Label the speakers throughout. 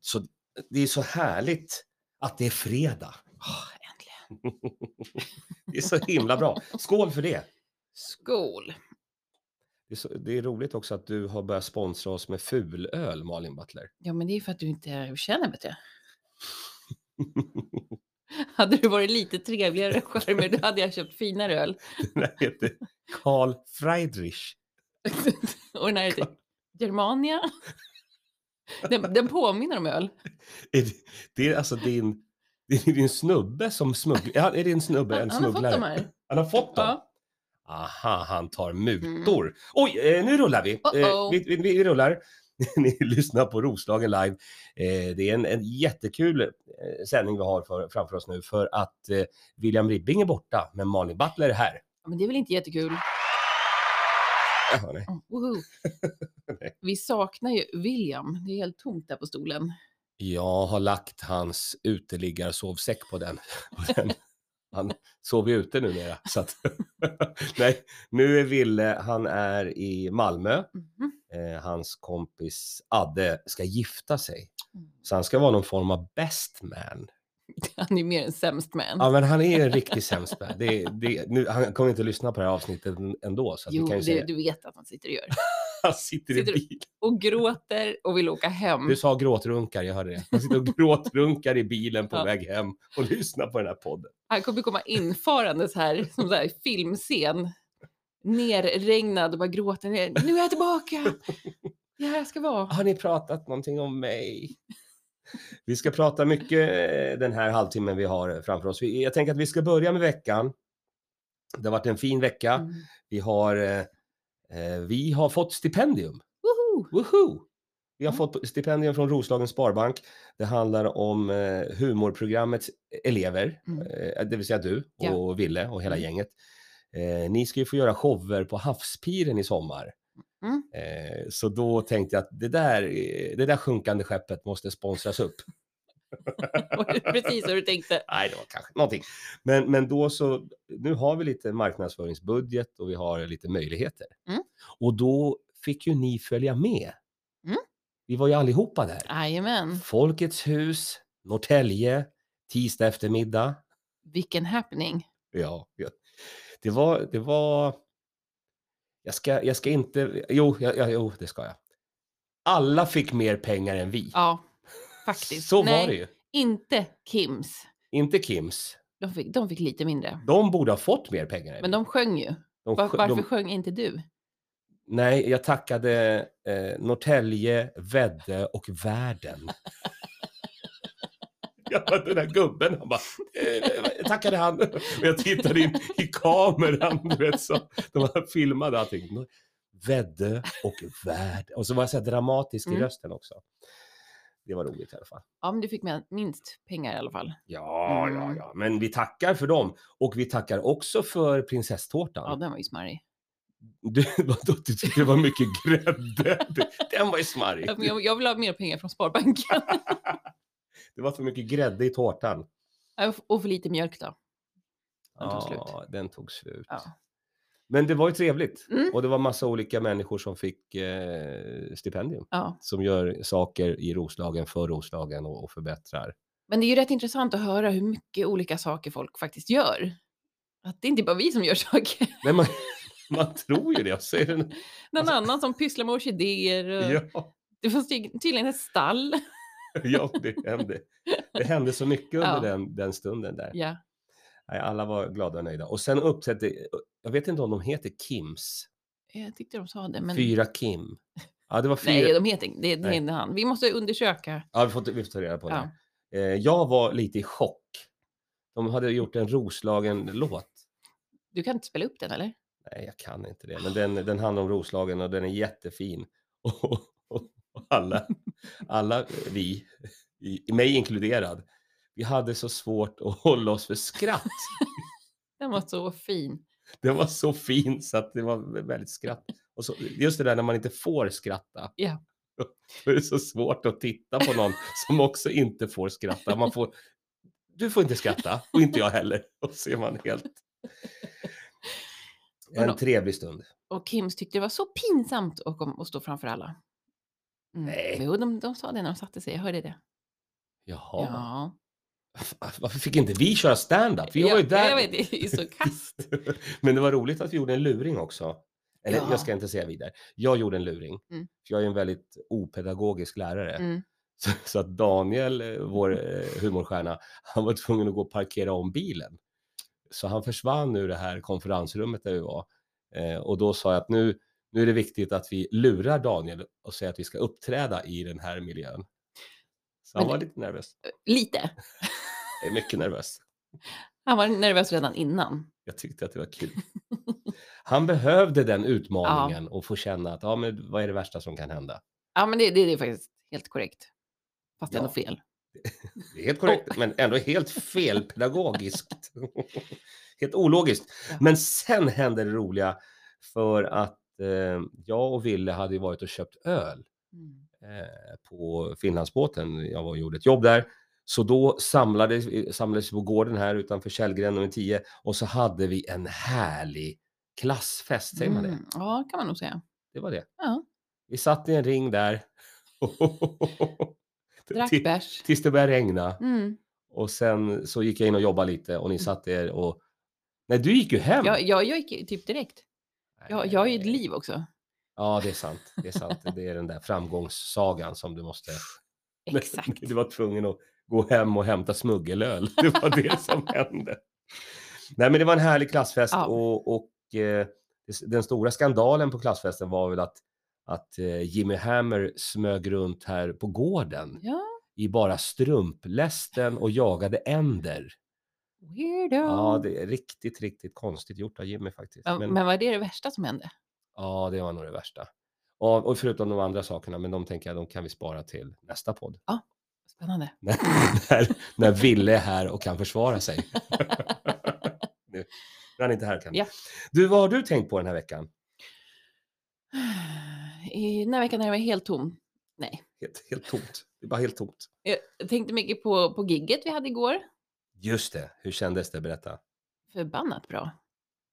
Speaker 1: så det är så härligt att det är fredag.
Speaker 2: Åh, äntligen.
Speaker 1: Det är så himla bra. Skål för det!
Speaker 2: Skål.
Speaker 1: Det är, så, det är roligt också att du har börjat sponsra oss med fulöl, Malin Butler.
Speaker 2: Ja, men det är för att du inte känner bättre. Hade du varit lite trevligare och charmigare, då hade jag köpt finare öl.
Speaker 1: Den här heter Karl Friedrich.
Speaker 2: Och den här heter Germania. Den, den påminner om öl.
Speaker 1: Är det, det är alltså din, det är din snubbe som smugglar. Ja, är det en snubbe,
Speaker 2: Han,
Speaker 1: en
Speaker 2: han har fått
Speaker 1: smugglare?
Speaker 2: de här.
Speaker 1: Han har fått dem?
Speaker 2: Ja.
Speaker 1: Aha, han tar mutor. Oj, eh, nu rullar vi. Eh,
Speaker 2: Uh-oh.
Speaker 1: vi, vi, vi rullar. Ni lyssnar på Roslagen live. Eh, det är en, en jättekul eh, sändning vi har för, framför oss nu för att eh, William Ribbing är borta, men Malin Butler är här.
Speaker 2: Ja, Men det är väl inte jättekul?
Speaker 1: Jaha, nej.
Speaker 2: Oh, woho.
Speaker 1: Nej.
Speaker 2: Vi saknar ju William. Det är helt tomt där på stolen.
Speaker 1: Jag har lagt hans uteliggarsovsäck på den. På den. Han sover ju ute numera. Så att, nej, nu är Ville, han är i Malmö.
Speaker 2: Mhm.
Speaker 1: Eh, hans kompis Adde ska gifta sig.
Speaker 2: Mm.
Speaker 1: Så han ska vara någon form av best man.
Speaker 2: Han är mer än sämst man.
Speaker 1: Ja, men han är en riktig sämst man. Det, det, nu, han kommer inte lyssna på det här avsnittet ändå. Så att
Speaker 2: Jo,
Speaker 1: vi kan ju
Speaker 2: det,
Speaker 1: säga,
Speaker 2: du vet att han sitter och gör.
Speaker 1: han sitter i
Speaker 2: sitter mm. du-
Speaker 1: bilen.
Speaker 2: Och gråter och vill åka hem.
Speaker 1: Du sa gråtrunkar, jag hörde det. Han sitter och gråtrunkar i bilen på
Speaker 2: Ja.
Speaker 1: väg hem och lyssnar på den här podden.
Speaker 2: Han kommer komma infarandes här som så här filmscen. Nerregnad och bara gråter ner. Nu är jag tillbaka! Det här jag ska vara.
Speaker 1: Har ni pratat någonting om mig? Vi ska prata mycket eh, den här halvtimmen vi har eh, framför oss. Vi, jag tänker att vi ska börja med veckan. Det har varit en fin vecka.
Speaker 2: Mm.
Speaker 1: Vi har, eh, eh, vi har fått stipendium.
Speaker 2: Woho!
Speaker 1: Woohoo! Vi har
Speaker 2: Mm.
Speaker 1: fått stipendium från Roslagens Sparbank. Det handlar om eh, humorprogrammets elever,
Speaker 2: Mm.
Speaker 1: eh, det vill säga du och
Speaker 2: Ja.
Speaker 1: Ville och hela
Speaker 2: Mm.
Speaker 1: gänget. Eh, ni ska ju få göra shower på Havspiren i sommar.
Speaker 2: Mm.
Speaker 1: Eh, så då tänkte jag att det där, eh, det där sjunkande skeppet måste sponsras upp.
Speaker 2: Var det Precis vad du tänkte.
Speaker 1: Nej, det var kanske någonting. Men, men då så, nu har vi lite marknadsföringsbudget och vi har lite möjligheter.
Speaker 2: Mm.
Speaker 1: Och då fick ju ni följa med.
Speaker 2: Mm.
Speaker 1: Vi var ju allihopa där.
Speaker 2: Jajamän.
Speaker 1: Folkets hus, Norrtälje, tisdag eftermiddag.
Speaker 2: Vilken happening.
Speaker 1: Ja, ja. det var... Det var... Jag, ska, jag ska inte... Jo, ja, ja, jo, det ska jag. Alla fick mer pengar än vi.
Speaker 2: Ja, faktiskt.
Speaker 1: Så
Speaker 2: Nej,
Speaker 1: var det ju.
Speaker 2: inte Kims.
Speaker 1: Inte Kims.
Speaker 2: De fick, de fick lite mindre.
Speaker 1: De borde ha fått mer pengar än
Speaker 2: Men
Speaker 1: vi.
Speaker 2: de sjöng ju.
Speaker 1: De
Speaker 2: Va-
Speaker 1: sjö-
Speaker 2: varför
Speaker 1: de-
Speaker 2: sjöng inte du?
Speaker 1: Nej, jag tackade eh, Norrtälje, Vädde och världen. Ja, den där gubben, han bara, eh, jag tackade han. Och jag tittade in i kameran, du vet, så de var filmade allting. Vädde och världen. Och så var jag så här dramatisk i
Speaker 2: Mm.
Speaker 1: rösten också. Det var roligt i alla fall.
Speaker 2: Ja, men du fick med minst pengar i alla fall.
Speaker 1: Ja, ja,
Speaker 2: Mm.
Speaker 1: ja, men vi tackar för dem. Och vi tackar också för prinsesstårtan.
Speaker 2: Ja, den var ju smarrig.
Speaker 1: Du, vadå, du tyckte det var mycket grädde? Det- Den var ju smarrig.
Speaker 2: Ja, men Jag, jag vill ha mer pengar från Sparbanken.
Speaker 1: Det var för mycket grädde i tårtan.
Speaker 2: Ja, Och för lite mjölk då. Den tog slut.
Speaker 1: Ja, den tog slut.
Speaker 2: Ja.
Speaker 1: Men det var ju trevligt.
Speaker 2: Mm.
Speaker 1: Och det var massa olika människor som fick eh, stipendium.
Speaker 2: Ja.
Speaker 1: Som gör saker i Roslagen, för Roslagen och, och förbättrar.
Speaker 2: Men det är ju rätt intressant att höra hur mycket olika saker folk faktiskt gör. Att det inte bara vi som gör saker.
Speaker 1: Nej, man, man tror ju det. Jag säger det.
Speaker 2: Någon
Speaker 1: Alltså-
Speaker 2: annan som pysslar med orkidéer. Och...
Speaker 1: Ja,
Speaker 2: Det fanns ty- tydligen ett stall.
Speaker 1: ja, det hände. Det hände så mycket under
Speaker 2: Ja.
Speaker 1: den, den stunden där.
Speaker 2: Ja.
Speaker 1: Nej, alla var glada och nöjda. Och sen upptäckte, jag vet inte om de heter Kims.
Speaker 2: Jag tyckte de sa det, men...
Speaker 1: Fyra Kim. Ja, det var fyra.
Speaker 2: Nej, de heter inte det. Det
Speaker 1: Nej.
Speaker 2: är inte han. Vi måste undersöka.
Speaker 1: Ja, vi får, ta- vi får ta reda på det. Eh, jag var lite i chock. De hade gjort en Roslagen-låt.
Speaker 2: Du kan inte spela upp den, eller?
Speaker 1: Nej, jag kan inte det. Men den, den handlar om Roslagen och den är jättefin. Och, och, och alla, alla vi, i- mig inkluderad, vi hade så svårt att hålla oss för skratt.
Speaker 2: Den var så fin.
Speaker 1: Den var så fin så att det var väldigt skratt. Och så, just det där när man inte får skratta.
Speaker 2: Ja.
Speaker 1: Då är det så svårt att titta på någon som också inte får skratta. Man får, du får inte skratta och inte jag heller. Och så är man helt...
Speaker 2: Men
Speaker 1: En
Speaker 2: då-
Speaker 1: trevlig stund.
Speaker 2: Och Kims tyckte det var så pinsamt att, kom, att stå framför alla. Mm.
Speaker 1: Nej.
Speaker 2: Jo, de, de sa det när de satte sig. Jag hörde det.
Speaker 1: Jaha.
Speaker 2: Ja.
Speaker 1: F- Varför fick inte vi köra stand-up? Vi var ju
Speaker 2: Ja,
Speaker 1: där.
Speaker 2: Jag vet, det är ju så kast.
Speaker 1: Men det var roligt att vi gjorde en luring också. Eller
Speaker 2: Ja.
Speaker 1: jag ska inte säga vidare. Jag gjorde en luring.
Speaker 2: Mm.
Speaker 1: För jag är ju en väldigt opedagogisk lärare.
Speaker 2: Mm.
Speaker 1: Så, så att Daniel, eh, vår eh, humorstjärna, han var tvungen att gå och parkera om bilen. Så han försvann ur det här konferensrummet där vi var. Eh, och då sa jag att nu, nu är det viktigt att vi lurar Daniel och säger att vi ska uppträda i den här miljön. Så han
Speaker 2: Men-
Speaker 1: var lite nervös.
Speaker 2: Lite.
Speaker 1: Eh, Mycket nervös.
Speaker 2: Han var nervös redan innan.
Speaker 1: Jag tyckte att det var kul. Han behövde den utmaningen och få känna att ja, men vad är det värsta som kan hända?
Speaker 2: Ja, men det, det, det är faktiskt helt korrekt. Fast ändå
Speaker 1: Ja.
Speaker 2: fel.
Speaker 1: Det är helt korrekt, men ändå helt felpedagogiskt. helt ologiskt.
Speaker 2: Ja.
Speaker 1: Men sen hände det roliga för att eh, jag och Ville hade ju varit och köpt öl
Speaker 2: Mm.
Speaker 1: eh, på Finlandsbåten. Jag var och gjorde ett jobb där. Så då samlades, samlades vi på gården här utanför Källgren nummer 10 och så hade vi en härlig klassfest, säger man det?
Speaker 2: Mm. Ja, kan man nog säga.
Speaker 1: Det var det.
Speaker 2: Ja.
Speaker 1: Vi satt i en ring där.
Speaker 2: Drack
Speaker 1: Till-
Speaker 2: bärs.
Speaker 1: Tills det började regna.
Speaker 2: Mm.
Speaker 1: Och sen så gick jag in och jobbade lite och ni satt er och... Nej, du gick ju hem!
Speaker 2: Jag, jag, jag gick ju typ direkt. Jag, jag har ju ett liv också.
Speaker 1: Ja, det är sant. Det är sant. Det är den där framgångssagan som du måste...
Speaker 2: Exakt.
Speaker 1: Du var tvungen att gå hem och hämta smuggelöl. Det var det som hände. Nej, men det var en härlig klassfest
Speaker 2: Ja.
Speaker 1: och, och eh, den stora skandalen på klassfesten var väl att, att eh, Jimmy Hammer smög runt här på gården
Speaker 2: Ja,
Speaker 1: i bara strumplästen och jagade änder.
Speaker 2: weirdo.
Speaker 1: Ja, det är riktigt, riktigt konstigt gjort av Jimmy faktiskt.
Speaker 2: Ja,
Speaker 1: Men,
Speaker 2: Men var det det värsta som hände?
Speaker 1: ja, det var nog det värsta. Och, och förutom de andra sakerna, men de tänker jag, de kan vi spara till nästa podd.
Speaker 2: Spännande.
Speaker 1: när, när, när Ville är här och kan försvara sig. nu, när han inte är här kan
Speaker 2: Ja.
Speaker 1: Du, vad har du tänkt på den här veckan?
Speaker 2: I den här veckan när jag var helt tom.
Speaker 1: Helt, helt tomt. Det är bara helt tomt.
Speaker 2: Jag tänkte mycket på, på gigget vi hade igår.
Speaker 1: Just det, hur kändes det? Berätta.
Speaker 2: Förbannat bra,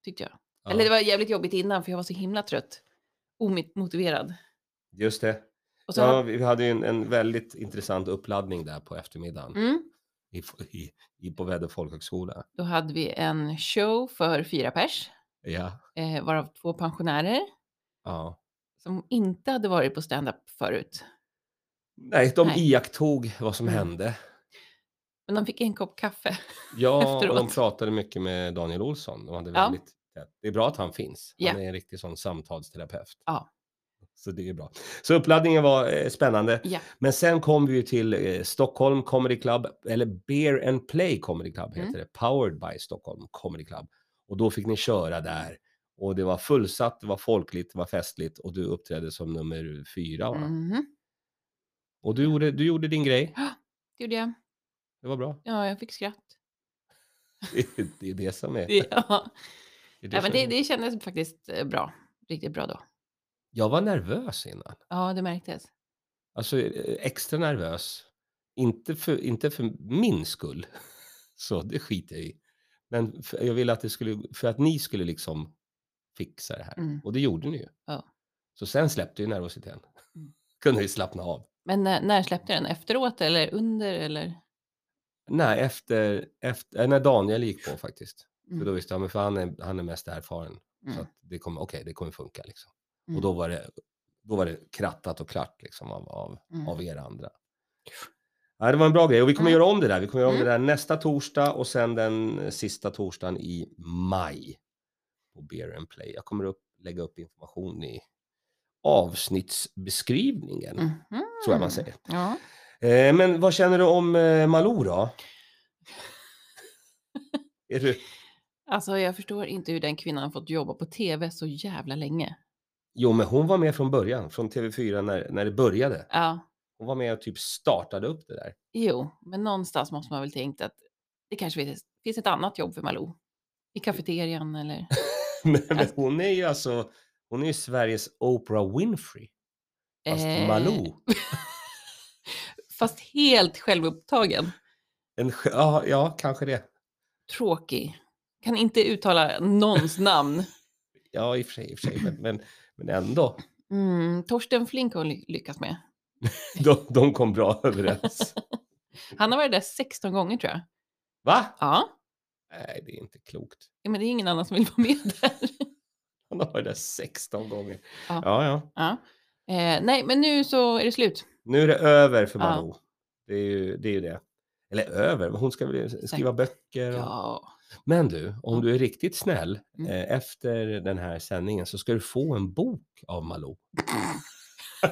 Speaker 2: tyckte jag.
Speaker 1: Ja,
Speaker 2: Eller det var jävligt jobbigt innan för jag var så himla trött. Omotiverad.
Speaker 1: Just det.
Speaker 2: Och så
Speaker 1: Ja,
Speaker 2: hade-
Speaker 1: vi hade ju en, en väldigt intressant uppladdning där på eftermiddagen
Speaker 2: mm,
Speaker 1: i, i, i, på Väddö folkhögskola.
Speaker 2: då hade vi en show för fyra pers,
Speaker 1: Ja.
Speaker 2: eh, varav två pensionärer
Speaker 1: ja.
Speaker 2: som inte hade varit på stand-up förut.
Speaker 1: Nej, de
Speaker 2: Nej.
Speaker 1: iakttog vad som
Speaker 2: Mm.
Speaker 1: hände.
Speaker 2: Men de fick en kopp kaffe.
Speaker 1: Ja, och de
Speaker 2: Efteråt.
Speaker 1: pratade mycket med Daniel Olsson. De hade
Speaker 2: Ja.
Speaker 1: väldigt, Det är bra att han finns. Han
Speaker 2: Ja.
Speaker 1: är en riktig sån samtalsterapeut.
Speaker 2: Ja.
Speaker 1: Så det är bra. Så uppladdningen var eh, spännande.
Speaker 2: Ja.
Speaker 1: Men sen kom vi ju till eh, Stockholm Comedy Club, eller Beer and Play Comedy Club heter
Speaker 2: Mm.
Speaker 1: det. Powered by Stockholm Comedy Club. Och då fick ni köra där. Och det var fullsatt, det var folkligt, det var festligt och du uppträdde som nummer fyra. Va?
Speaker 2: Mhm,
Speaker 1: Och du gjorde, du gjorde din grej.
Speaker 2: det gjorde jag.
Speaker 1: Det var bra.
Speaker 2: Ja, jag fick skratt.
Speaker 1: Det är det som är...
Speaker 2: Ja.
Speaker 1: är
Speaker 2: Ja, men
Speaker 1: som
Speaker 2: det,
Speaker 1: är-
Speaker 2: det kändes faktiskt eh, bra. Riktigt bra då.
Speaker 1: Jag var nervös innan.
Speaker 2: Ja, det märktes.
Speaker 1: Alltså eh, extra nervös. Inte för, inte för min skull. Så det skiter jag i. Men för, jag ville att det skulle, för att ni skulle liksom fixa det här.
Speaker 2: Mm.
Speaker 1: Och det gjorde ni ju.
Speaker 2: Ja.
Speaker 1: Så sen släppte ju nervositeten.
Speaker 2: Mm.
Speaker 1: Kunde vi slappna av.
Speaker 2: Men när, när släppte den? Efteråt eller under eller?
Speaker 1: Nej, efter, efter eh, när Daniel gick på faktiskt. För då
Speaker 2: Mm.
Speaker 1: visste jag, men för han är, han är mest erfaren. Så
Speaker 2: Mm.
Speaker 1: att det kommer, okej, det kommer funka liksom.
Speaker 2: Mm.
Speaker 1: Och då var det, då var det krattat och klart liksom av, av
Speaker 2: Mm.
Speaker 1: av er andra. Ja, det var en bra grej och vi kommer
Speaker 2: Mm.
Speaker 1: göra om det där. Vi kommer göra om det där nästa torsdag och sen den eh, sista torsdagen i maj på Beer and Play. Jag kommer upp, lägga upp information i avsnittsbeskrivningen,
Speaker 2: Mhm.
Speaker 1: tror jag man säger.
Speaker 2: Ja.
Speaker 1: Eh, men vad känner du om eh, Malou då? Är du...
Speaker 2: Alltså jag förstår inte hur den kvinnan fått jobba på tv så jävla länge.
Speaker 1: Jo, men hon var med från början, från TV4 när, när det började.
Speaker 2: Ja,
Speaker 1: Hon var med och typ startade upp det där.
Speaker 2: jo, men någonstans måste man väl tänkt att det kanske finns, finns ett annat jobb för Malou. I kafeterian eller?
Speaker 1: Nej, men
Speaker 2: Alltså-
Speaker 1: hon är ju alltså, hon är ju Sveriges Oprah Winfrey. Fast
Speaker 2: Eh,
Speaker 1: Malou.
Speaker 2: Fast helt självupptagen.
Speaker 1: En, sj- ja, ja, kanske det.
Speaker 2: Tråkig. Kan inte uttala någons namn.
Speaker 1: Ja, i och för sig, i och för sig men, men, men ändå.
Speaker 2: Mm, Torsten Flink har hon ly- lyckats med.
Speaker 1: De, de kom bra överens.
Speaker 2: Han har varit där 16 gånger tror jag.
Speaker 1: Va?
Speaker 2: Ja,
Speaker 1: Nej, det är inte klokt.
Speaker 2: Ja, men det är ingen annan som vill vara med där.
Speaker 1: Han har varit där 16 gånger.
Speaker 2: Ja.
Speaker 1: Ja, ja.
Speaker 2: Ja. Eh, nej, men nu så är det slut.
Speaker 1: Nu är det över för
Speaker 2: Ja.
Speaker 1: Malou. Det, är ju, det är ju det. Eller över, men hon ska väl skriva böcker. Och...
Speaker 2: Ja,
Speaker 1: Men du, om
Speaker 2: Ja.
Speaker 1: du är riktigt snäll,
Speaker 2: Mm.
Speaker 1: eh, efter den här sändningen så ska du få en bok av Malou.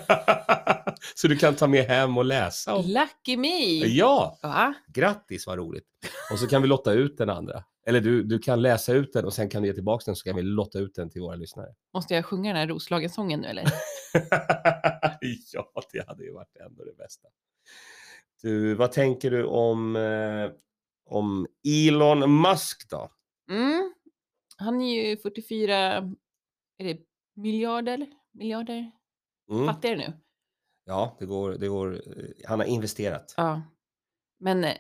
Speaker 1: så du kan ta med hem och läsa. om-
Speaker 2: lucky me.
Speaker 1: Ja,
Speaker 2: Ja,
Speaker 1: grattis vad roligt. Och så kan vi lotta ut den andra. Eller du, du kan läsa ut den och sen kan du ge tillbaka den så kan vi lotta ut den till våra lyssnare.
Speaker 2: måste jag sjunga den här Roslagen-sången nu eller?
Speaker 1: ja, det hade ju varit ändå det bästa. Du, vad tänker du om, eh, om Elon Musk då?
Speaker 2: Mm. Han är ju 44 är det miljarder, miljarder
Speaker 1: Mm.
Speaker 2: fattigare nu.
Speaker 1: Ja, det går, det går. eh, Han har investerat.
Speaker 2: Ja. Men eh,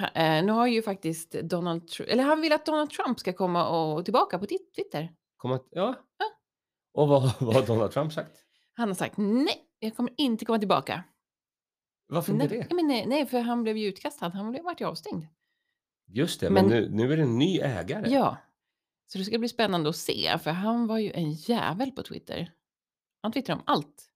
Speaker 2: ha- eh, nu har ju faktiskt Donald Trump, eller han vill att Donald Trump ska komma och tillbaka på Ti- Twitter.
Speaker 1: Kom att, ja. Och vad, vad har Donald Trump sagt?
Speaker 2: Han har sagt nej, jag kommer inte komma tillbaka.
Speaker 1: Varför
Speaker 2: Nej,
Speaker 1: inte det?
Speaker 2: men nej, nej, för han blev ju utkastad, han blev, vart ju avstängd.
Speaker 1: Just det, men,
Speaker 2: Men-
Speaker 1: nu, nu är det en ny ägare.
Speaker 2: Ja. Så det ska bli spännande att se, för han var ju en jävel på Twitter. Han twittrar om allt.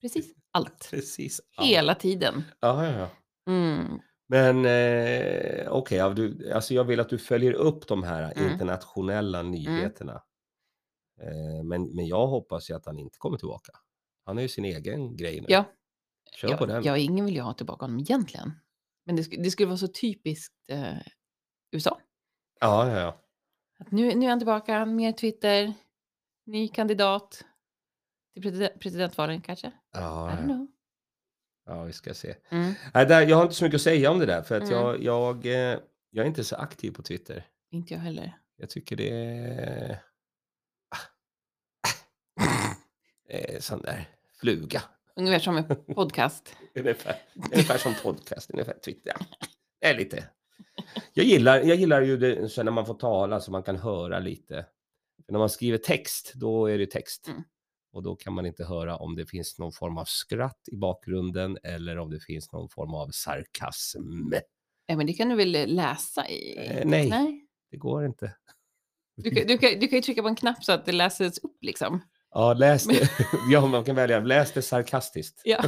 Speaker 2: Precis allt.
Speaker 1: Precis.
Speaker 2: Hela tiden.
Speaker 1: Ja, ja, ja.
Speaker 2: Mm.
Speaker 1: Men eh, okej, ja, du- alltså jag vill att du följer upp de här
Speaker 2: Mm.
Speaker 1: internationella nyheterna. Eh, men, men jag hoppas ju att han inte kommer tillbaka. Han har ju sin egen grej nu.
Speaker 2: Ja.
Speaker 1: Kör på
Speaker 2: Ja,
Speaker 1: den.
Speaker 2: ja, ingen vill ju ha tillbaka honom egentligen. Men det, sk- det skulle vara så typiskt eh, USA.
Speaker 1: Ja, ja, ja.
Speaker 2: Att nu, nu är han tillbaka, mer Twitter, ny kandidat till president, presidentvalen kanske. I
Speaker 1: Ja,
Speaker 2: don't
Speaker 1: ja.
Speaker 2: know.
Speaker 1: ja, vi ska se.
Speaker 2: Mm.
Speaker 1: Nej, där, jag har inte så mycket att säga om det där för att
Speaker 2: Mm.
Speaker 1: jag, jag, eh, jag är inte så aktiv på Twitter.
Speaker 2: Inte jag heller.
Speaker 1: Jag tycker det är... ah, Eh, sån där fluga.
Speaker 2: Ungefär som en podcast.
Speaker 1: Ungefär, ungefär som podcast, ungefär Twitter. Det är lite. Jag gillar, jag gillar ju det, så när man får tala så man kan höra lite. Men när man skriver text, då är det text.
Speaker 2: Mm.
Speaker 1: Och då kan man inte höra om det finns någon form av skratt i bakgrunden eller om det finns någon form av sarkasm.
Speaker 2: Ja, men det kan du väl läsa i?
Speaker 1: Eh, nej.
Speaker 2: nej.
Speaker 1: Det går inte.
Speaker 2: Du, kan- du, kan, du kan ju trycka på en knapp så att det läses upp liksom.
Speaker 1: Ja, läs det. Ja, man kan välja. Läs det sarkastiskt.
Speaker 2: Ja.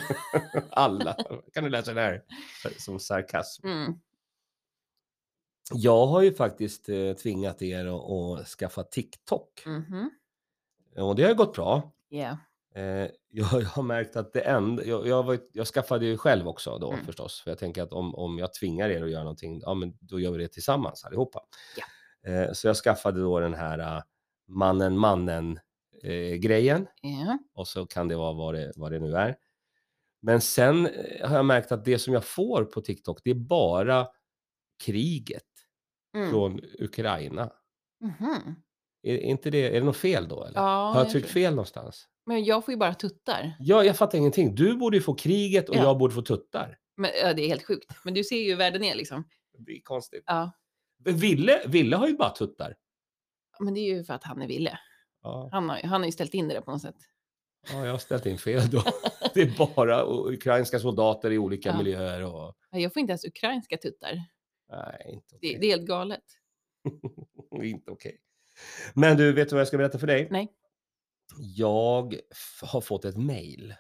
Speaker 1: Alla. Kan du läsa det här som sarkasm?
Speaker 2: Mm.
Speaker 1: Jag har ju faktiskt eh, tvingat er att, att skaffa TikTok.
Speaker 2: Mhm.
Speaker 1: Eh, Och det har ju gått bra.
Speaker 2: Yeah.
Speaker 1: Eh, jag, jag har märkt att det enda, jag, jag, var, ju- jag skaffade ju själv också då
Speaker 2: Mm.
Speaker 1: förstås. För jag tänker att om, om jag tvingar er att göra någonting, ja men då gör vi det tillsammans allihopa. Eh, så jag skaffade då den här eh, mannen, mannen eh, grejen.
Speaker 2: Yeah.
Speaker 1: Och så kan det vara vad det, vad det nu är. Men sen eh, har jag märkt att det som jag får på TikTok, det är bara kriget
Speaker 2: Mm.
Speaker 1: från Ukraina.
Speaker 2: Mhm.
Speaker 1: Är, är inte det, är det något fel då eller?
Speaker 2: Ja,
Speaker 1: har jag
Speaker 2: jag
Speaker 1: tryckt
Speaker 2: tror-
Speaker 1: fel någonstans?
Speaker 2: Men jag får ju bara tuttar.
Speaker 1: Ja, jag fattar ingenting. Du borde ju få kriget och
Speaker 2: Ja.
Speaker 1: jag borde få tuttar.
Speaker 2: Men, ja, det är helt sjukt. Men du ser ju hur världen är liksom.
Speaker 1: Det är konstigt.
Speaker 2: Ja,
Speaker 1: Men Ville, Ville har ju bara tuttar.
Speaker 2: men det är ju för att han är Ville.
Speaker 1: Ja,
Speaker 2: Han har, han har ju ställt in det där på något sätt.
Speaker 1: ja, jag har ställt in fel då. Det är bara o- ukrainska soldater i olika
Speaker 2: Ja.
Speaker 1: miljöer och...
Speaker 2: Ja, Jag får inte ens ukrainska tuttar.
Speaker 1: Nej, inte okej.
Speaker 2: Det, det är helt galet.
Speaker 1: inte okej. Men du, vet du vad jag ska berätta för dig?
Speaker 2: Nej.
Speaker 1: Jag f- har fått ett mejl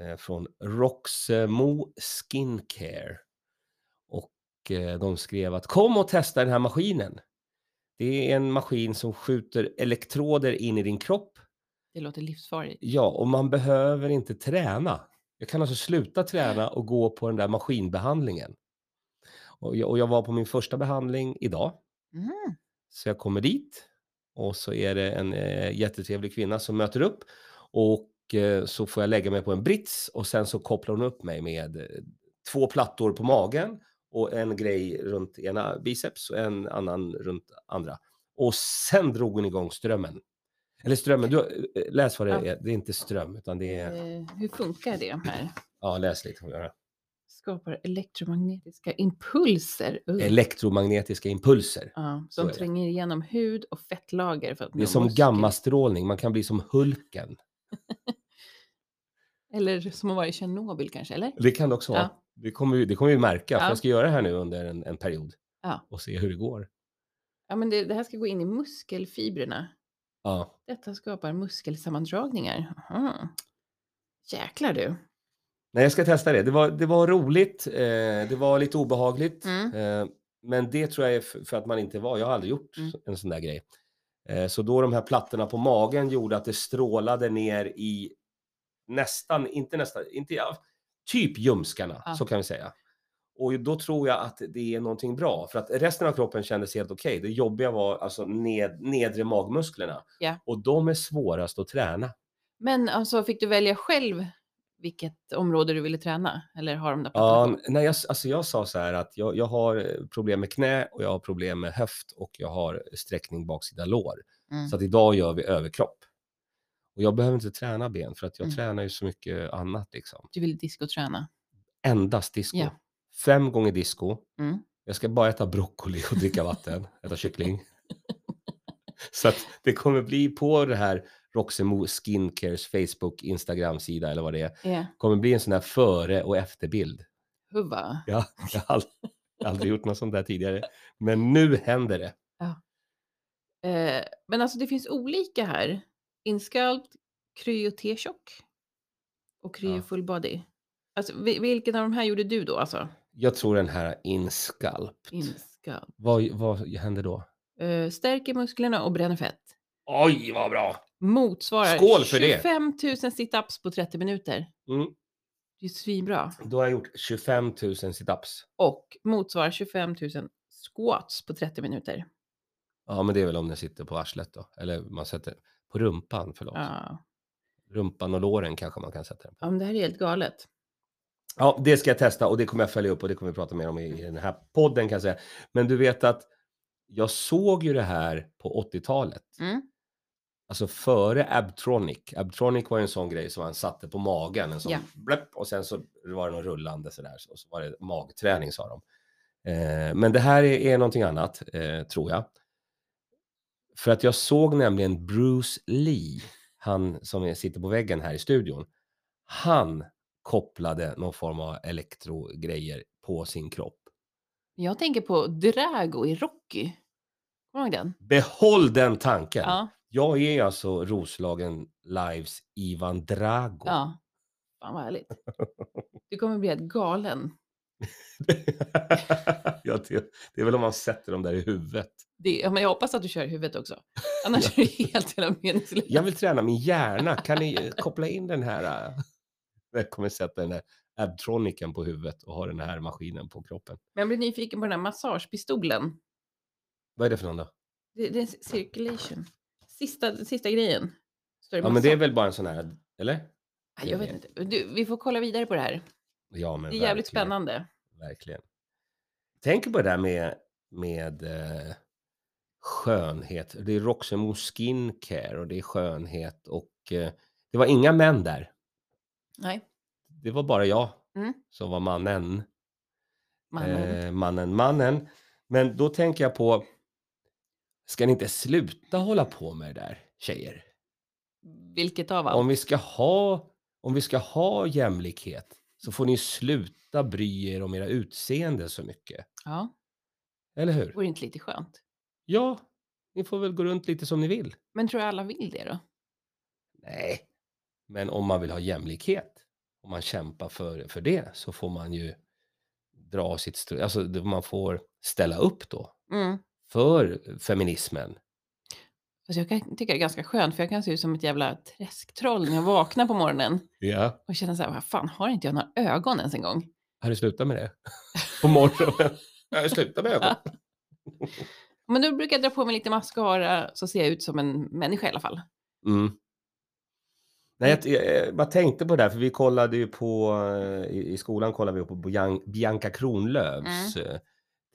Speaker 1: eh, från Roxemo Skincare. Och eh, de skrev att kom och testa den här maskinen. Det är en maskin som skjuter elektroder in i din kropp.
Speaker 2: Det låter livsfarligt.
Speaker 1: Ja, och man behöver inte träna. Jag kan alltså sluta träna och gå på den där maskinbehandlingen. Och jag, och jag var på min första behandling idag.
Speaker 2: Mm.
Speaker 1: Så jag kommer dit och så är det en eh, jättetrevlig kvinna som möter upp och eh, så får jag lägga mig på en brits och sen så kopplar hon upp mig med eh, två plattor på magen och en grej runt ena biceps och en annan runt andra. Och sen drog hon igång strömmen. Eller strömmen, du, eh, läs vad det
Speaker 2: Ja.
Speaker 1: är. Det är inte ström utan det är,
Speaker 2: Eh, hur funkar det här?
Speaker 1: ja läs lite. får jag höra.
Speaker 2: Skapar elektromagnetiska impulser.
Speaker 1: Mm.
Speaker 2: Uh.
Speaker 1: Elektromagnetiska impulser.
Speaker 2: ja,
Speaker 1: så är
Speaker 2: som
Speaker 1: det.
Speaker 2: tränger igenom hud och fettlager. För att
Speaker 1: Det är
Speaker 2: nå
Speaker 1: som
Speaker 2: muskel.
Speaker 1: gammastrålning, man kan bli som Hulken.
Speaker 2: Eller som att vara i Tjernobyl kanske, eller?
Speaker 1: Det kan det också vara.
Speaker 2: Ja.
Speaker 1: Det kommer, vi- det kommer vi märka, för
Speaker 2: Ja.
Speaker 1: jag ska göra det här nu under en, en period
Speaker 2: Ja.
Speaker 1: och se hur det går.
Speaker 2: Ja, men det, det här ska gå in i muskelfibrerna.
Speaker 1: Ja,
Speaker 2: Detta skapar muskelsammandragningar. Aha. Jäklar du.
Speaker 1: Nej, jag ska testa det. Det var, det var roligt, eh, det var lite obehagligt.
Speaker 2: Mm.
Speaker 1: Eh, men det tror jag är f- för att man inte var, jag har aldrig gjort
Speaker 2: Mm.
Speaker 1: en sån där grej. Eh, så då de här plattorna på magen gjorde att det strålade ner i nästan, inte nästan, inte, ja, typ ljumskarna,
Speaker 2: Ja.
Speaker 1: så kan vi säga. Och då tror jag att det är någonting bra, för att resten av kroppen kändes helt okej. Det jobbiga var alltså ned, nedre magmusklerna.
Speaker 2: Ja.
Speaker 1: Och de är svårast att träna.
Speaker 2: Men alltså, fick du välja själv vilket område du ville träna? Eller har de där plattorna
Speaker 1: Ja, nej, jag, alltså jag sa så här att jag, jag har eh, problem med knä och jag har problem med höft och jag har eh, sträckning baksida lår.
Speaker 2: på? Mm.
Speaker 1: Så att idag gör vi överkropp. Och jag behöver inte träna ben för att jag
Speaker 2: Mm.
Speaker 1: tränar ju så mycket annat liksom.
Speaker 2: Du ville diskoträna?
Speaker 1: Endast disco.
Speaker 2: Ja.
Speaker 1: Fem gånger disco.
Speaker 2: Mm.
Speaker 1: Jag ska bara äta broccoli och dricka vatten, äta kyckling. Så att det kommer bli på det här Roxemo Skincares Facebook, Instagram-sida eller vad det är.
Speaker 2: Ja.
Speaker 1: kommer bli en sån här före och efterbild.
Speaker 2: Huvva.
Speaker 1: Ja, jag har aldrig, aldrig gjort något sånt där tidigare. Men nu händer det.
Speaker 2: Eh, men alltså det finns olika här. Inskalpt, kryo T-chock och kryo
Speaker 1: Ja.
Speaker 2: full body. Alltså, vi- vilken av de här gjorde du då? Alltså?
Speaker 1: Jag tror den här inskalpt.
Speaker 2: Inskalpt.
Speaker 1: Vad, vad händer då?
Speaker 2: Eh, stärker musklerna och bränner fett.
Speaker 1: Oj, vad bra!
Speaker 2: Motsvarar
Speaker 1: Skål för det!
Speaker 2: 25 000 situps på 30 minuter.
Speaker 1: Mm.
Speaker 2: Det är svinbra.
Speaker 1: Då har jag gjort 25 000 situps.
Speaker 2: Och motsvarar 25 000 squats på 30 minuter.
Speaker 1: Ja, men det är väl om den sitter på arslet då. Eller man sätter på rumpan, förlåt.
Speaker 2: Ja.
Speaker 1: Rumpan och låren kanske man kan sätta den på.
Speaker 2: ja, men det här är helt galet.
Speaker 1: Ja, det ska jag testa och det kommer jag följa upp och det kommer vi prata mer om i, i den här podden kan jag säga. Men du vet att jag såg ju det här på 80-talet.
Speaker 2: Mm.
Speaker 1: Alltså före Abtronic. Abtronic var ju en sån grej som man satte på magen. En sån
Speaker 2: Ja.
Speaker 1: blepp, och sen så var det någon rullande sådär. Och så var det magträning sa de. Eh, men det här är, är någonting annat, eh, tror jag. För att jag såg nämligen Bruce Lee, han som är, sitter på väggen här i studion. Han kopplade någon form av elektrogrejer på sin kropp.
Speaker 2: Jag tänker på Drago i Rocky. Kommer du ihåg den?
Speaker 1: Behåll den tanken!
Speaker 2: Ja.
Speaker 1: Jag är alltså Roslagen Lives Ivan Drago.
Speaker 2: ja. Fan vad härligt. Du kommer bli helt galen.
Speaker 1: ja, det, det är väl om man sätter dem där i huvudet.
Speaker 2: Det, ja, men jag hoppas att du kör i huvudet också. Annars är det helt jävla meningslöst.
Speaker 1: Jag vill träna min hjärna. Kan ni eh, koppla in den här? eh? Jag kommer sätta den här Abtroniken på huvudet och ha den här maskinen på kroppen.
Speaker 2: Men jag blir nyfiken på den här massagepistolen.
Speaker 1: Vad är det för någon då?
Speaker 2: Det, det är circulation. Sista, sista grejen. Står
Speaker 1: Ja, men det är väl bara en sån här, eller?
Speaker 2: massage? Jag vet inte. Du, vi får kolla vidare på det här.
Speaker 1: Ja, men
Speaker 2: Det är jävligt
Speaker 1: verkligen,
Speaker 2: spännande.
Speaker 1: Verkligen. Tänk på det där med, med eh, skönhet. Det är Roxemo Skincare och det är skönhet och eh, det var inga män där.
Speaker 2: Nej,
Speaker 1: det var bara jag
Speaker 2: Mm.
Speaker 1: som var mannen.
Speaker 2: mannen.
Speaker 1: Eh, mannen, mannen. Men då tänker jag på, ska ni inte sluta hålla på med det där tjejer?
Speaker 2: Vilket av allt?
Speaker 1: Om vi ska ha, om vi ska ha jämlikhet så får ni sluta bry er om era utseende så mycket.
Speaker 2: Ja,
Speaker 1: Eller hur?
Speaker 2: vore inte lite skönt?
Speaker 1: Ja, ni får väl gå runt lite som ni vill.
Speaker 2: Men tror du alla vill det då?
Speaker 1: Nej, men om man vill ha jämlikhet, om man kämpar för, för det så får man ju dra sitt strå, alltså det- man får ställa upp då.
Speaker 2: Mm.
Speaker 1: för feminismen.
Speaker 2: Alltså jag kan tycka det är ganska skönt för jag kan se ut som ett jävla träsktroll när jag vaknar på morgonen
Speaker 1: Ja.
Speaker 2: och känna så här, vad fan har inte jag några ögon ens en gång?
Speaker 1: Har du slutat med det? På morgonen? Nej, sluta med ögonen.
Speaker 2: Men då brukar jag dra på mig lite mascara så ser jag ut som en människa i alla fall.
Speaker 1: Mm. Nej, jag, jag, jag bara tänkte på det här, för vi kollade ju på, eh, i, i skolan kollade vi på Bian, Bianca Kronlöfs eh,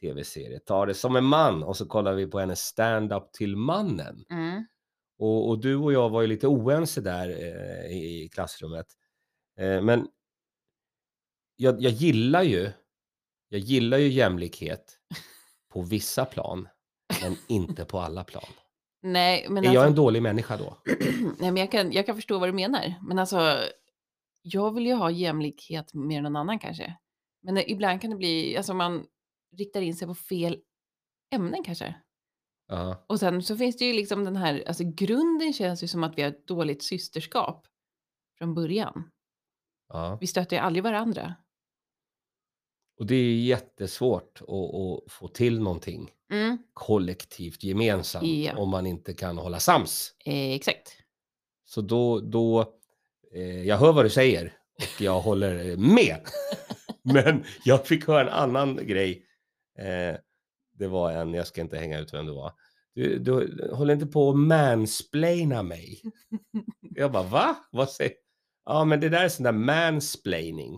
Speaker 1: tv-serie, Ta det som en man, och så kollade vi på hennes stand-up till mannen. Och, och du och jag var ju lite oense där eh, i, i klassrummet. Eh, men jag, jag gillar ju, jag gillar ju jämlikhet på vissa plan, men inte på alla plan.
Speaker 2: Nej, men
Speaker 1: Är
Speaker 2: alltså,
Speaker 1: jag en dålig människa då?
Speaker 2: nej, men jag, kan, jag kan förstå vad du menar. Men alltså, jag vill ju ha jämlikhet med någon annan kanske. Men eh, ibland kan det bli, alltså man riktar in sig på fel ämnen kanske.
Speaker 1: Ja.
Speaker 2: Och sen så finns det ju liksom den här, alltså grunden känns ju som att vi har ett dåligt systerskap från början.
Speaker 1: ja.
Speaker 2: Vi stöter ju aldrig varandra.
Speaker 1: Och det är jättesvårt att, att få till någonting
Speaker 2: Mm,
Speaker 1: kollektivt, gemensamt,
Speaker 2: Ja.
Speaker 1: om man inte kan hålla sams.
Speaker 2: eh, exakt.
Speaker 1: Så då, då eh, jag hör vad du säger och jag håller eh, med. Men jag fick höra en annan grej. Eh, det var en, jag ska inte hänga ut vem det var. Du, du håller inte på att mansplaina mig. Jag bara, va? Vad säger Ja, men det där är sån där mansplaining.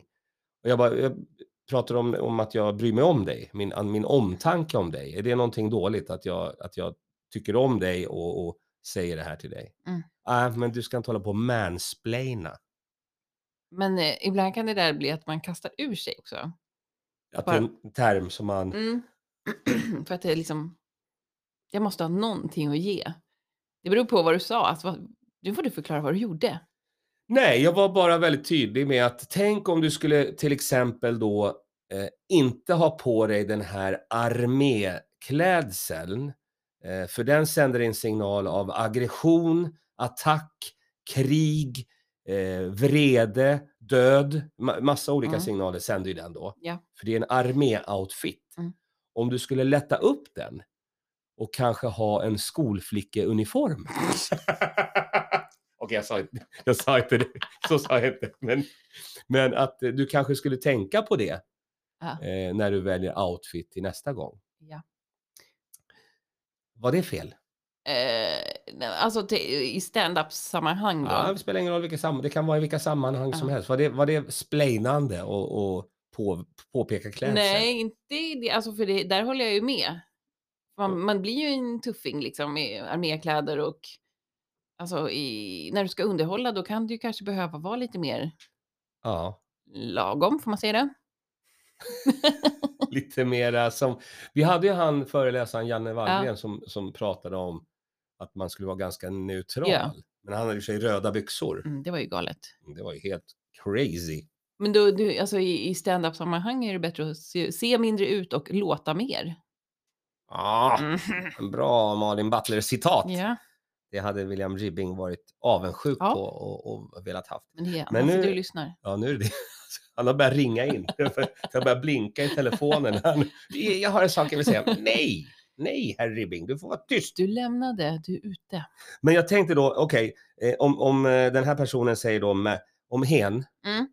Speaker 1: Och jag bara, jag pratar om, om att jag bryr mig om dig, min, an- min omtanke om dig. Är det någonting dåligt att jag, att jag tycker om dig och, och säger det här till dig?
Speaker 2: Mm.
Speaker 1: Ah, men du ska inte hålla på och mansplaina.
Speaker 2: Men eh, ibland kan det där bli att man kastar ur sig också.
Speaker 1: Att det
Speaker 2: Bara-
Speaker 1: är en term som man...
Speaker 2: Mm. För att det är liksom, jag måste ha någonting att ge. Det beror på vad du sa, alltså, vad, nu får du förklara vad du gjorde.
Speaker 1: Nej, jag var bara väldigt tydlig med att tänk om du skulle till exempel då eh, inte ha på dig den här arméklädseln. Eh, för den sänder en signal av aggression, attack, krig, eh, vrede, död. Ma- massa olika
Speaker 2: Mm.
Speaker 1: signaler sänder ju den då.
Speaker 2: Ja.
Speaker 1: För det är en arméoutfit.
Speaker 2: Mm.
Speaker 1: Om du skulle lätta upp den och kanske ha en skolflickeuniform. Okej, jag sa inte, jag sa inte det. Så sa jag inte. Men, men att eh, du kanske skulle tänka på det
Speaker 2: Ja.
Speaker 1: eh, när du väljer outfit till nästa gång.
Speaker 2: Ja.
Speaker 1: Var det fel?
Speaker 2: Eh, nej, alltså till, i stand-up-sammanhang då.
Speaker 1: Ja, det spelar ingen roll vilka sammanhang. Det kan vara i vilka sammanhang som
Speaker 2: Ja.
Speaker 1: helst. Var det, var det splainande och, och på, påpeka klädsel?
Speaker 2: Nej, inte i det. Alltså för det, där håller jag ju med. Man, man blir ju en tuffing liksom i armékläder och alltså i, när du ska underhålla då kan du ju kanske behöva vara lite mer
Speaker 1: Ja,
Speaker 2: lagom, får man säga det?
Speaker 1: lite mera som... Vi hade ju han föreläsaren Janne Wallgren som, som pratade om att man skulle vara ganska neutral.
Speaker 2: Ja.
Speaker 1: Men han hade i och för sig röda byxor.
Speaker 2: Mm, det var ju galet.
Speaker 1: Det var ju helt crazy.
Speaker 2: Men då, du, alltså i, i stand-up-sammanhang är det bättre att se, se mindre ut och låta mer.
Speaker 1: Ah.
Speaker 2: Mm.
Speaker 1: En bra Malin Butler-citat.
Speaker 2: Ja,
Speaker 1: Det hade William Ribbing varit avundsjuk
Speaker 2: Ja.
Speaker 1: på och, och velat haft.
Speaker 2: men det är
Speaker 1: Men
Speaker 2: men nu...
Speaker 1: nu-
Speaker 2: du lyssnar.
Speaker 1: Ja, nu är det Han har börjat ringa in. Jag börjar blinka i telefonen. Han, jag har en sak jag vill säga. Nej, nej, herr Ribbing, du får vara tyst.
Speaker 2: Du lämnade, du är ute.
Speaker 1: Men jag tänkte då, okej, eh, om, om eh, den här personen säger då med, om hen,
Speaker 2: Mm.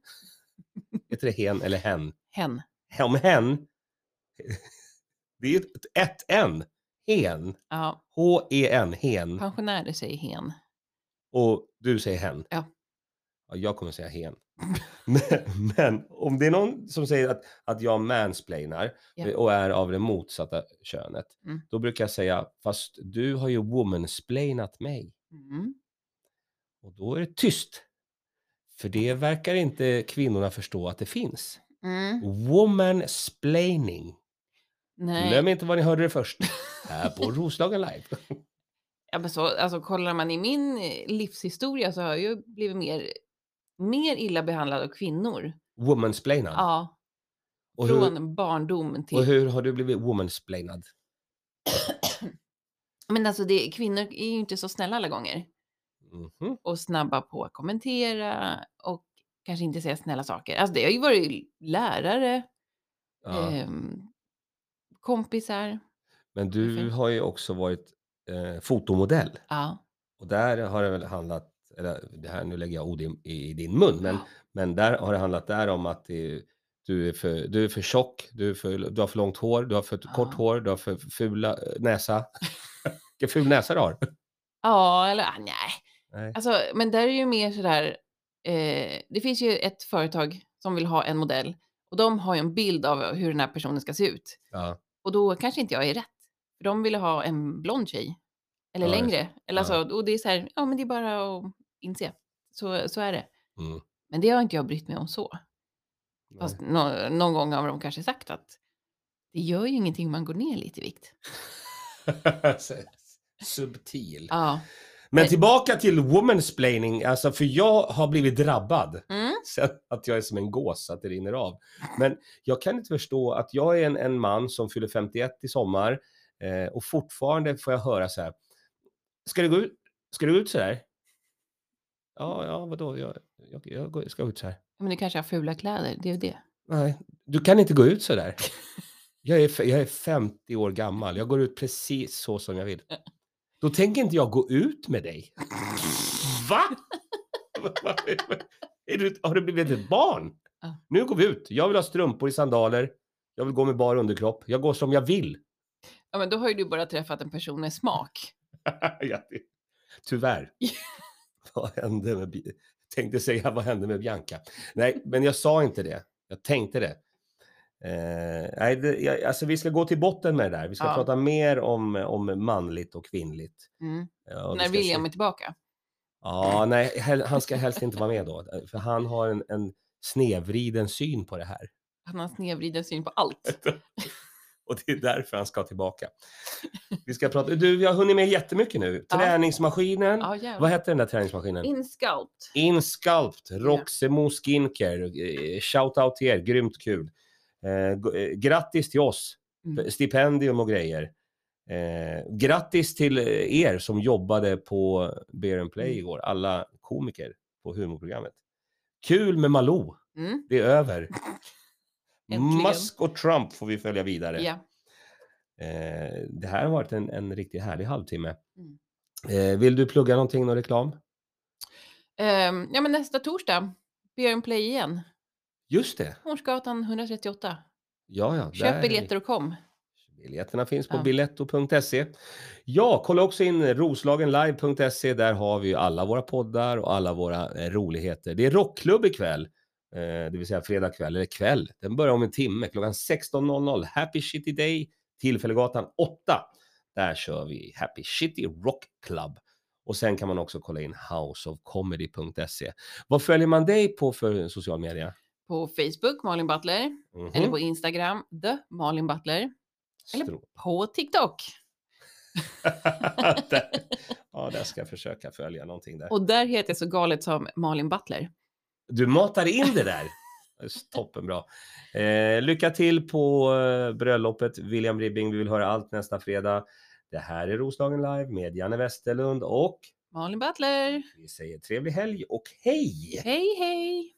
Speaker 1: heter det hen eller hen?
Speaker 2: Hen.
Speaker 1: Om hen, det är ju ett, ett N, hen,
Speaker 2: Ja,
Speaker 1: H-E-N, hen.
Speaker 2: pensionärer säger hen.
Speaker 1: Och du säger hen.
Speaker 2: Ja.
Speaker 1: ja jag kommer säga hen. men, men om det är någon som säger att, att jag mansplainar
Speaker 2: Ja.
Speaker 1: eh, och är av det motsatta könet,
Speaker 2: Mm.
Speaker 1: då brukar jag säga, fast du har ju womansplainat mig.
Speaker 2: Mm.
Speaker 1: Och då är det tyst. För det verkar inte kvinnorna förstå att det finns.
Speaker 2: Mm.
Speaker 1: Womansplaining.
Speaker 2: Nej.
Speaker 1: Glöm inte var ni hörde det först. Här på Roslagen Live.
Speaker 2: Ja, men så, alltså, kollar man i min eh, livshistoria så har jag ju blivit mer, mer illa behandlad av kvinnor.
Speaker 1: Womansplainad.
Speaker 2: Ja,
Speaker 1: och, hur,
Speaker 2: från barndom till...
Speaker 1: och hur har du blivit womansplainad?
Speaker 2: Men alltså, det, kvinnor är ju inte så snälla alla gånger.
Speaker 1: Mhm.
Speaker 2: Och snabba på att kommentera och kanske inte säga snälla saker. Alltså, det har ju varit lärare,
Speaker 1: Ja.
Speaker 2: ehm, kompisar.
Speaker 1: Men du
Speaker 2: Perfekt.
Speaker 1: har ju också varit eh, fotomodell
Speaker 2: Ja.
Speaker 1: och där har det väl handlat, eller det här, nu lägger jag ord i, i din mun, men,
Speaker 2: Ja.
Speaker 1: men där har det handlat där om att det, du, är för, du är för tjock, du, är för, du har för långt hår, du har för kort
Speaker 2: Ja.
Speaker 1: hår, du har för fula eh, näsa. Vilken ful näsa du har.
Speaker 2: Ja, eller ah, nej.
Speaker 1: Nej.
Speaker 2: Alltså, men där är ju mer sådär, eh, det finns ju ett företag som vill ha en modell och de har ju en bild av hur den här personen ska se ut.
Speaker 1: Ja,
Speaker 2: Och då kanske inte jag är rätt. För de ville ha en blond tjej. Eller
Speaker 1: Ja, just
Speaker 2: längre. Eller
Speaker 1: Ja.
Speaker 2: alltså, och det är så här, ja men det är bara att inse. Så, så är det.
Speaker 1: mm.
Speaker 2: Men det har inte jag brytt mig om så. Fast nå- någon gång har de kanske sagt att det gör ju ingenting om man går ner lite i vikt.
Speaker 1: Subtil.
Speaker 2: Alltså Ja,
Speaker 1: Men
Speaker 2: Nej.
Speaker 1: tillbaka till womansplaining, alltså för jag har blivit drabbad.
Speaker 2: Mm.
Speaker 1: Sen att jag är som en gås, att det rinner av. Men jag kan inte förstå att jag är en, en man som fyller 51 i sommar eh, och fortfarande får jag höra så här. Ska du gå ut, ska du ut så här? Ja, ja, vadå? Jag, jag, jag går- ska ut så här.
Speaker 2: Men du kanske har fula kläder, det är ju det.
Speaker 1: Nej, du kan inte gå ut så där. Jag är, f- jag är 50 år gammal. Jag går ut precis så som jag vill. Då tänker inte jag gå ut med dig. Va? är du, har du blivit ett barn?
Speaker 2: Ja.
Speaker 1: Nu går vi ut. Jag vill ha strumpor i sandaler. Jag vill gå med bar underkropp. Jag går som jag vill.
Speaker 2: Ja, men då har ju du bara träffat en person med smak.
Speaker 1: Ja, det- Tyvärr. vad hände med... Bi- Tänkte säga vad hände med Bianca? Nej, men jag sa inte det. Jag tänkte det. Eh, nej, det jag, alltså vi ska gå till botten med det där. Vi ska
Speaker 2: Ja.
Speaker 1: prata mer om, om manligt och kvinnligt.
Speaker 2: Mm.
Speaker 1: Ja, och vi
Speaker 2: När
Speaker 1: ska
Speaker 2: William
Speaker 1: se-
Speaker 2: är tillbaka.
Speaker 1: Ja, nej, hel- han ska helst inte vara med då. För han har en, en snedvriden syn på det här.
Speaker 2: Han har snedvriden syn på allt.
Speaker 1: Och det är därför han ska tillbaka. Vi ska prata... Du, vi har hunnit med jättemycket nu.
Speaker 2: Ja.
Speaker 1: Träningsmaskinen.
Speaker 2: Ja,
Speaker 1: Vad
Speaker 2: jävlar.
Speaker 1: hette den där träningsmaskinen?
Speaker 2: Insculpt.
Speaker 1: Insculpt, Roxemo Skincare. eh, Shout out till er, grymt kul. Eh, g- eh, grattis till oss,
Speaker 2: Mm.
Speaker 1: stipendium och grejer. Eh, grattis till eh, er som jobbade på Bear and Play
Speaker 2: Mm.
Speaker 1: igår, alla komiker på humorprogrammet. Kul med Malou,
Speaker 2: Mm.
Speaker 1: det är över.
Speaker 2: Äntligen.
Speaker 1: Musk och Trump får vi följa vidare.
Speaker 2: Ja.
Speaker 1: Eh, det här har varit en, en riktigt härlig halvtimme.
Speaker 2: Mm.
Speaker 1: Eh, vill du plugga någonting, någon reklam?
Speaker 2: Ehm, ja, men nästa torsdag. Beer and Play igen.
Speaker 1: Just det.
Speaker 2: Hornsgatan 138.
Speaker 1: Ja, ja. där är
Speaker 2: Köp
Speaker 1: vi.
Speaker 2: biljetter och kom.
Speaker 1: Biljetterna finns på
Speaker 2: Ja.
Speaker 1: biletto.se. Ja, kolla också in roslagenlive.se. Där har vi ju alla våra poddar och alla våra eh, roligheter. Det är rockklubb ikväll, eh, det vill säga fredag kväll, eller kväll. Den börjar om en timme klockan 16.00. Happy Shitty Day, Tillfällegatan 8. Där kör vi Happy Shitty Rock Club. Och sen kan man också kolla in houseofcomedy.se. Vad följer man dig på för social media?
Speaker 2: På Facebook, Malin Butler.
Speaker 1: Mhm.
Speaker 2: Eller på Instagram, The Malin Butler. eller-
Speaker 1: Stro-
Speaker 2: På TikTok.
Speaker 1: Där- ja, där ska jag försöka följa någonting där.
Speaker 2: Och där heter jag så galet som Malin Butler.
Speaker 1: Du matar in det där. Toppen bra. Eh, lycka till på eh, bröllopet, William Ribbing. Vi vill höra allt nästa fredag. Det här är Roslagen Live med Janne Westerlund och
Speaker 2: Malin Butler.
Speaker 1: vi säger trevlig helg och hej!
Speaker 2: Hej, hej!